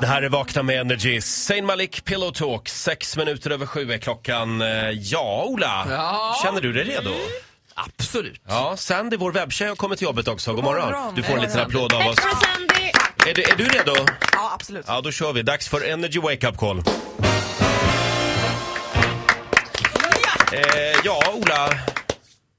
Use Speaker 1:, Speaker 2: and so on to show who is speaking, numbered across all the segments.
Speaker 1: Det här är Vakna med Energy. Zayn Malik, Pillow Talk. Sex minuter över sju är klockan. Eh, Ja, Ola.
Speaker 2: Ja.
Speaker 1: Känner du dig redo?
Speaker 2: Absolut.
Speaker 1: Ja, Sandy, vår webbtjej, har kommit till jobbet också. God morgon.
Speaker 3: morgon.
Speaker 1: Du får en liten applåd av oss.
Speaker 4: Sandy!
Speaker 1: Är du, är du redo?
Speaker 3: Ja, absolut.
Speaker 1: Ja, då kör vi. Dags för Energy Wake Up Call. Eh, ja, Ola.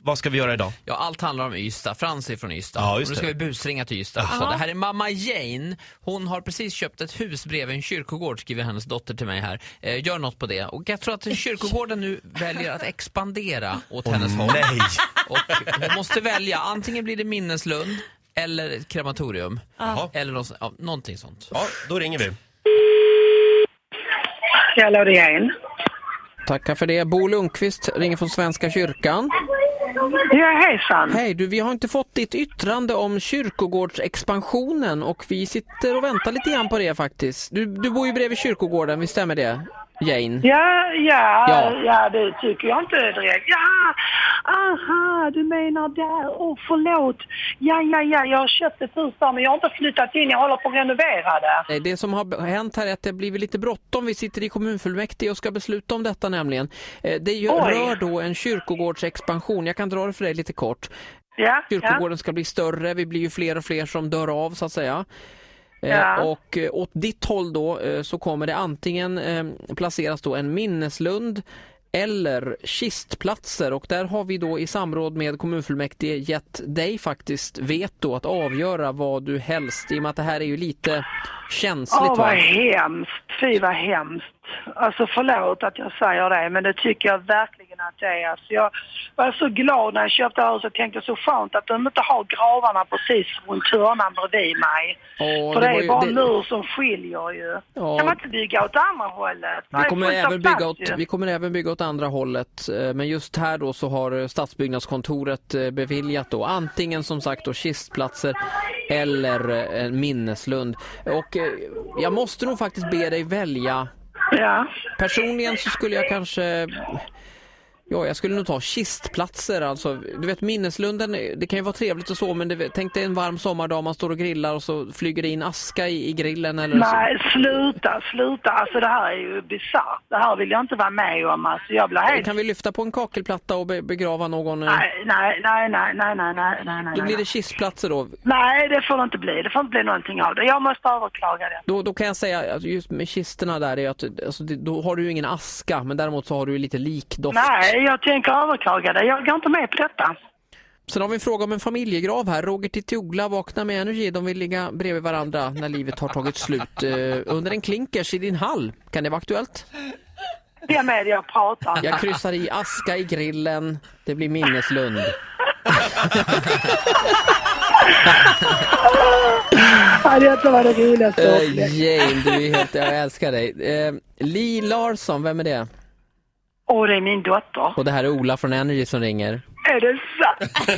Speaker 1: Vad ska vi göra idag?
Speaker 2: Ja, allt handlar om Ystad. Frans är från Ystad.
Speaker 1: Ja,
Speaker 2: och
Speaker 1: just
Speaker 2: nu ska
Speaker 1: det.
Speaker 2: vi busringa till Ystad också. Det här är mamma Jane. Hon har precis köpt ett hus bredvid en kyrkogård, skriver hennes dotter till mig här. Eh, gör något på det. Och jag tror att kyrkogården nu väljer att expandera åt hennes håll.
Speaker 1: Nej.
Speaker 2: Och hon måste välja. Antingen blir det minneslund eller ett krematorium.
Speaker 1: Jaha.
Speaker 2: Eller något, ja, någonting sånt.
Speaker 1: Ja, då ringer vi.
Speaker 5: Hallå, det är en.
Speaker 6: Tackar för det. Bo Lundqvist ringer från Svenska kyrkan.
Speaker 5: Ja, hejsan.
Speaker 6: Hej du, vi har inte fått ditt yttrande om kyrkogårdsexpansionen och vi sitter och väntar lite grann på det faktiskt. Du, du bor ju bredvid kyrkogården, visst stämmer det? Jane?
Speaker 5: Ja, ja,
Speaker 6: Ja.
Speaker 5: ja, det tycker jag inte direkt. Ja, aha, du menar där. Åh, oh, förlåt. Ja, ja, ja, jag har köpt ett hus där men jag har inte flyttat in. Jag håller på att renovera det.
Speaker 6: Nej, Det som har hänt här är att det har blivit lite bråttom. Vi sitter i kommunfullmäktige och ska besluta om detta nämligen. Eh, Det ju-
Speaker 5: Oj.
Speaker 6: rör då en kyrkogårdsexpansion. Jag kan dra det för dig lite kort.
Speaker 5: Ja, ja.
Speaker 6: Kyrkogården ska bli större, vi blir ju fler och fler som dör av så att säga. Eh,
Speaker 5: Ja.
Speaker 6: Och eh, åt ditt håll då eh, så kommer det antingen eh, placeras då en minneslund eller kistplatser och där har vi då i samråd med kommunfullmäktige gett dig faktiskt veto att avgöra vad du helst i och med att det här är ju lite känsligt. va?
Speaker 5: Åh, vad hemskt. Fy, vad hemskt. Alltså, förlåt att jag säger det, men det tycker jag verkligen att det är. Alltså, jag var så glad när jag köpte huset. Tänkte så skönt att de inte har gravarna precis runt hörnan bredvid mig.
Speaker 6: Ja,
Speaker 5: För det,
Speaker 6: var
Speaker 5: är
Speaker 6: ju-
Speaker 5: bara
Speaker 6: det-
Speaker 5: en mur som skiljer ju.
Speaker 6: Ja.
Speaker 5: Kan man inte bygga åt andra hållet?
Speaker 6: Vi
Speaker 5: Det
Speaker 6: kommer,
Speaker 5: är fullt av
Speaker 6: även bygga
Speaker 5: plats
Speaker 6: åt,
Speaker 5: ju.
Speaker 6: vi kommer även bygga åt andra hållet eh, men just här då så har eh, stadsbyggnadskontoret eh, beviljat då antingen som sagt då kistplatser eller eh, en minneslund. Och eh, jag måste nog faktiskt be dig välja.
Speaker 5: Ja.
Speaker 6: Personligen så skulle jag kanske Ja, jag skulle nog ta kistplatser. Alltså, du vet, minneslunden, eh, det kan ju vara trevligt och så, men det, tänk dig en varm sommardag, man står och grillar och så flyger det in aska i, i grillen eller så.
Speaker 5: Nej, sluta, sluta. Alltså det här är ju bisarrt. Det här vill jag inte vara med om. Alltså jag blir helt...
Speaker 6: Kan vi lyfta på en kakelplatta och be- begrava någon? eh,
Speaker 5: Nej, nej, nej, nej, nej, nej, nej, nej, nej.
Speaker 6: Då blir det kistplatser då.
Speaker 5: Nej, det får det inte bli. Det får inte bli någonting av det. Jag måste överklaga det.
Speaker 6: Då, då kan jag säga att just med kisterna där är att alltså, det, då har du ju ingen aska men däremot så har du ju lite likdoft.
Speaker 5: Nej, jag tänker överklaga det. Jag går inte med på detta.
Speaker 6: Sen har vi en fråga om en familjegrav här. Roger Titiogla, Vakna med Energy. De vill ligga bredvid varandra när livet har tagit slut. Eh, under en klinkers i din hall. Kan det vara aktuellt?
Speaker 5: Vem är det jag pratar om?
Speaker 6: Jag kryssar i aska i grillen. Det blir minneslund.
Speaker 5: Ja, detta var det roligaste jag
Speaker 6: Eh,
Speaker 5: upplevt.
Speaker 6: Jane, du är helt... Jag älskar dig. Eh, Li Larsson, vem är det?
Speaker 5: Åh, det är min dotter.
Speaker 6: Och det här är Ola från Energy som ringer.
Speaker 5: Är det sant?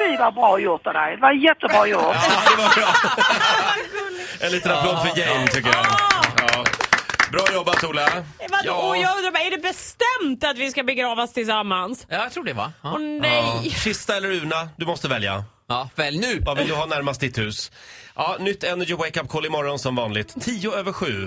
Speaker 5: Fy vad bra gjort av dig. Det var jättebra gjort.
Speaker 1: Ja, det var bra. En liten applåd för Jane, tycker jag. Ja. Bra jobbat, Ola.
Speaker 4: Ah. Eh, Vadå? Och jag undrar bara, är det bestämt att vi ska begravas tillsammans?
Speaker 2: Ja, jag tror det va?
Speaker 4: Åh
Speaker 2: Ja.
Speaker 4: nej!
Speaker 1: Kista eller urna? Du måste välja.
Speaker 2: ja, väl nu.
Speaker 1: Vad vill du ha närmast ditt hus? Ja, nytt Energy Wake Up Call imorgon som vanligt. 10 över 7.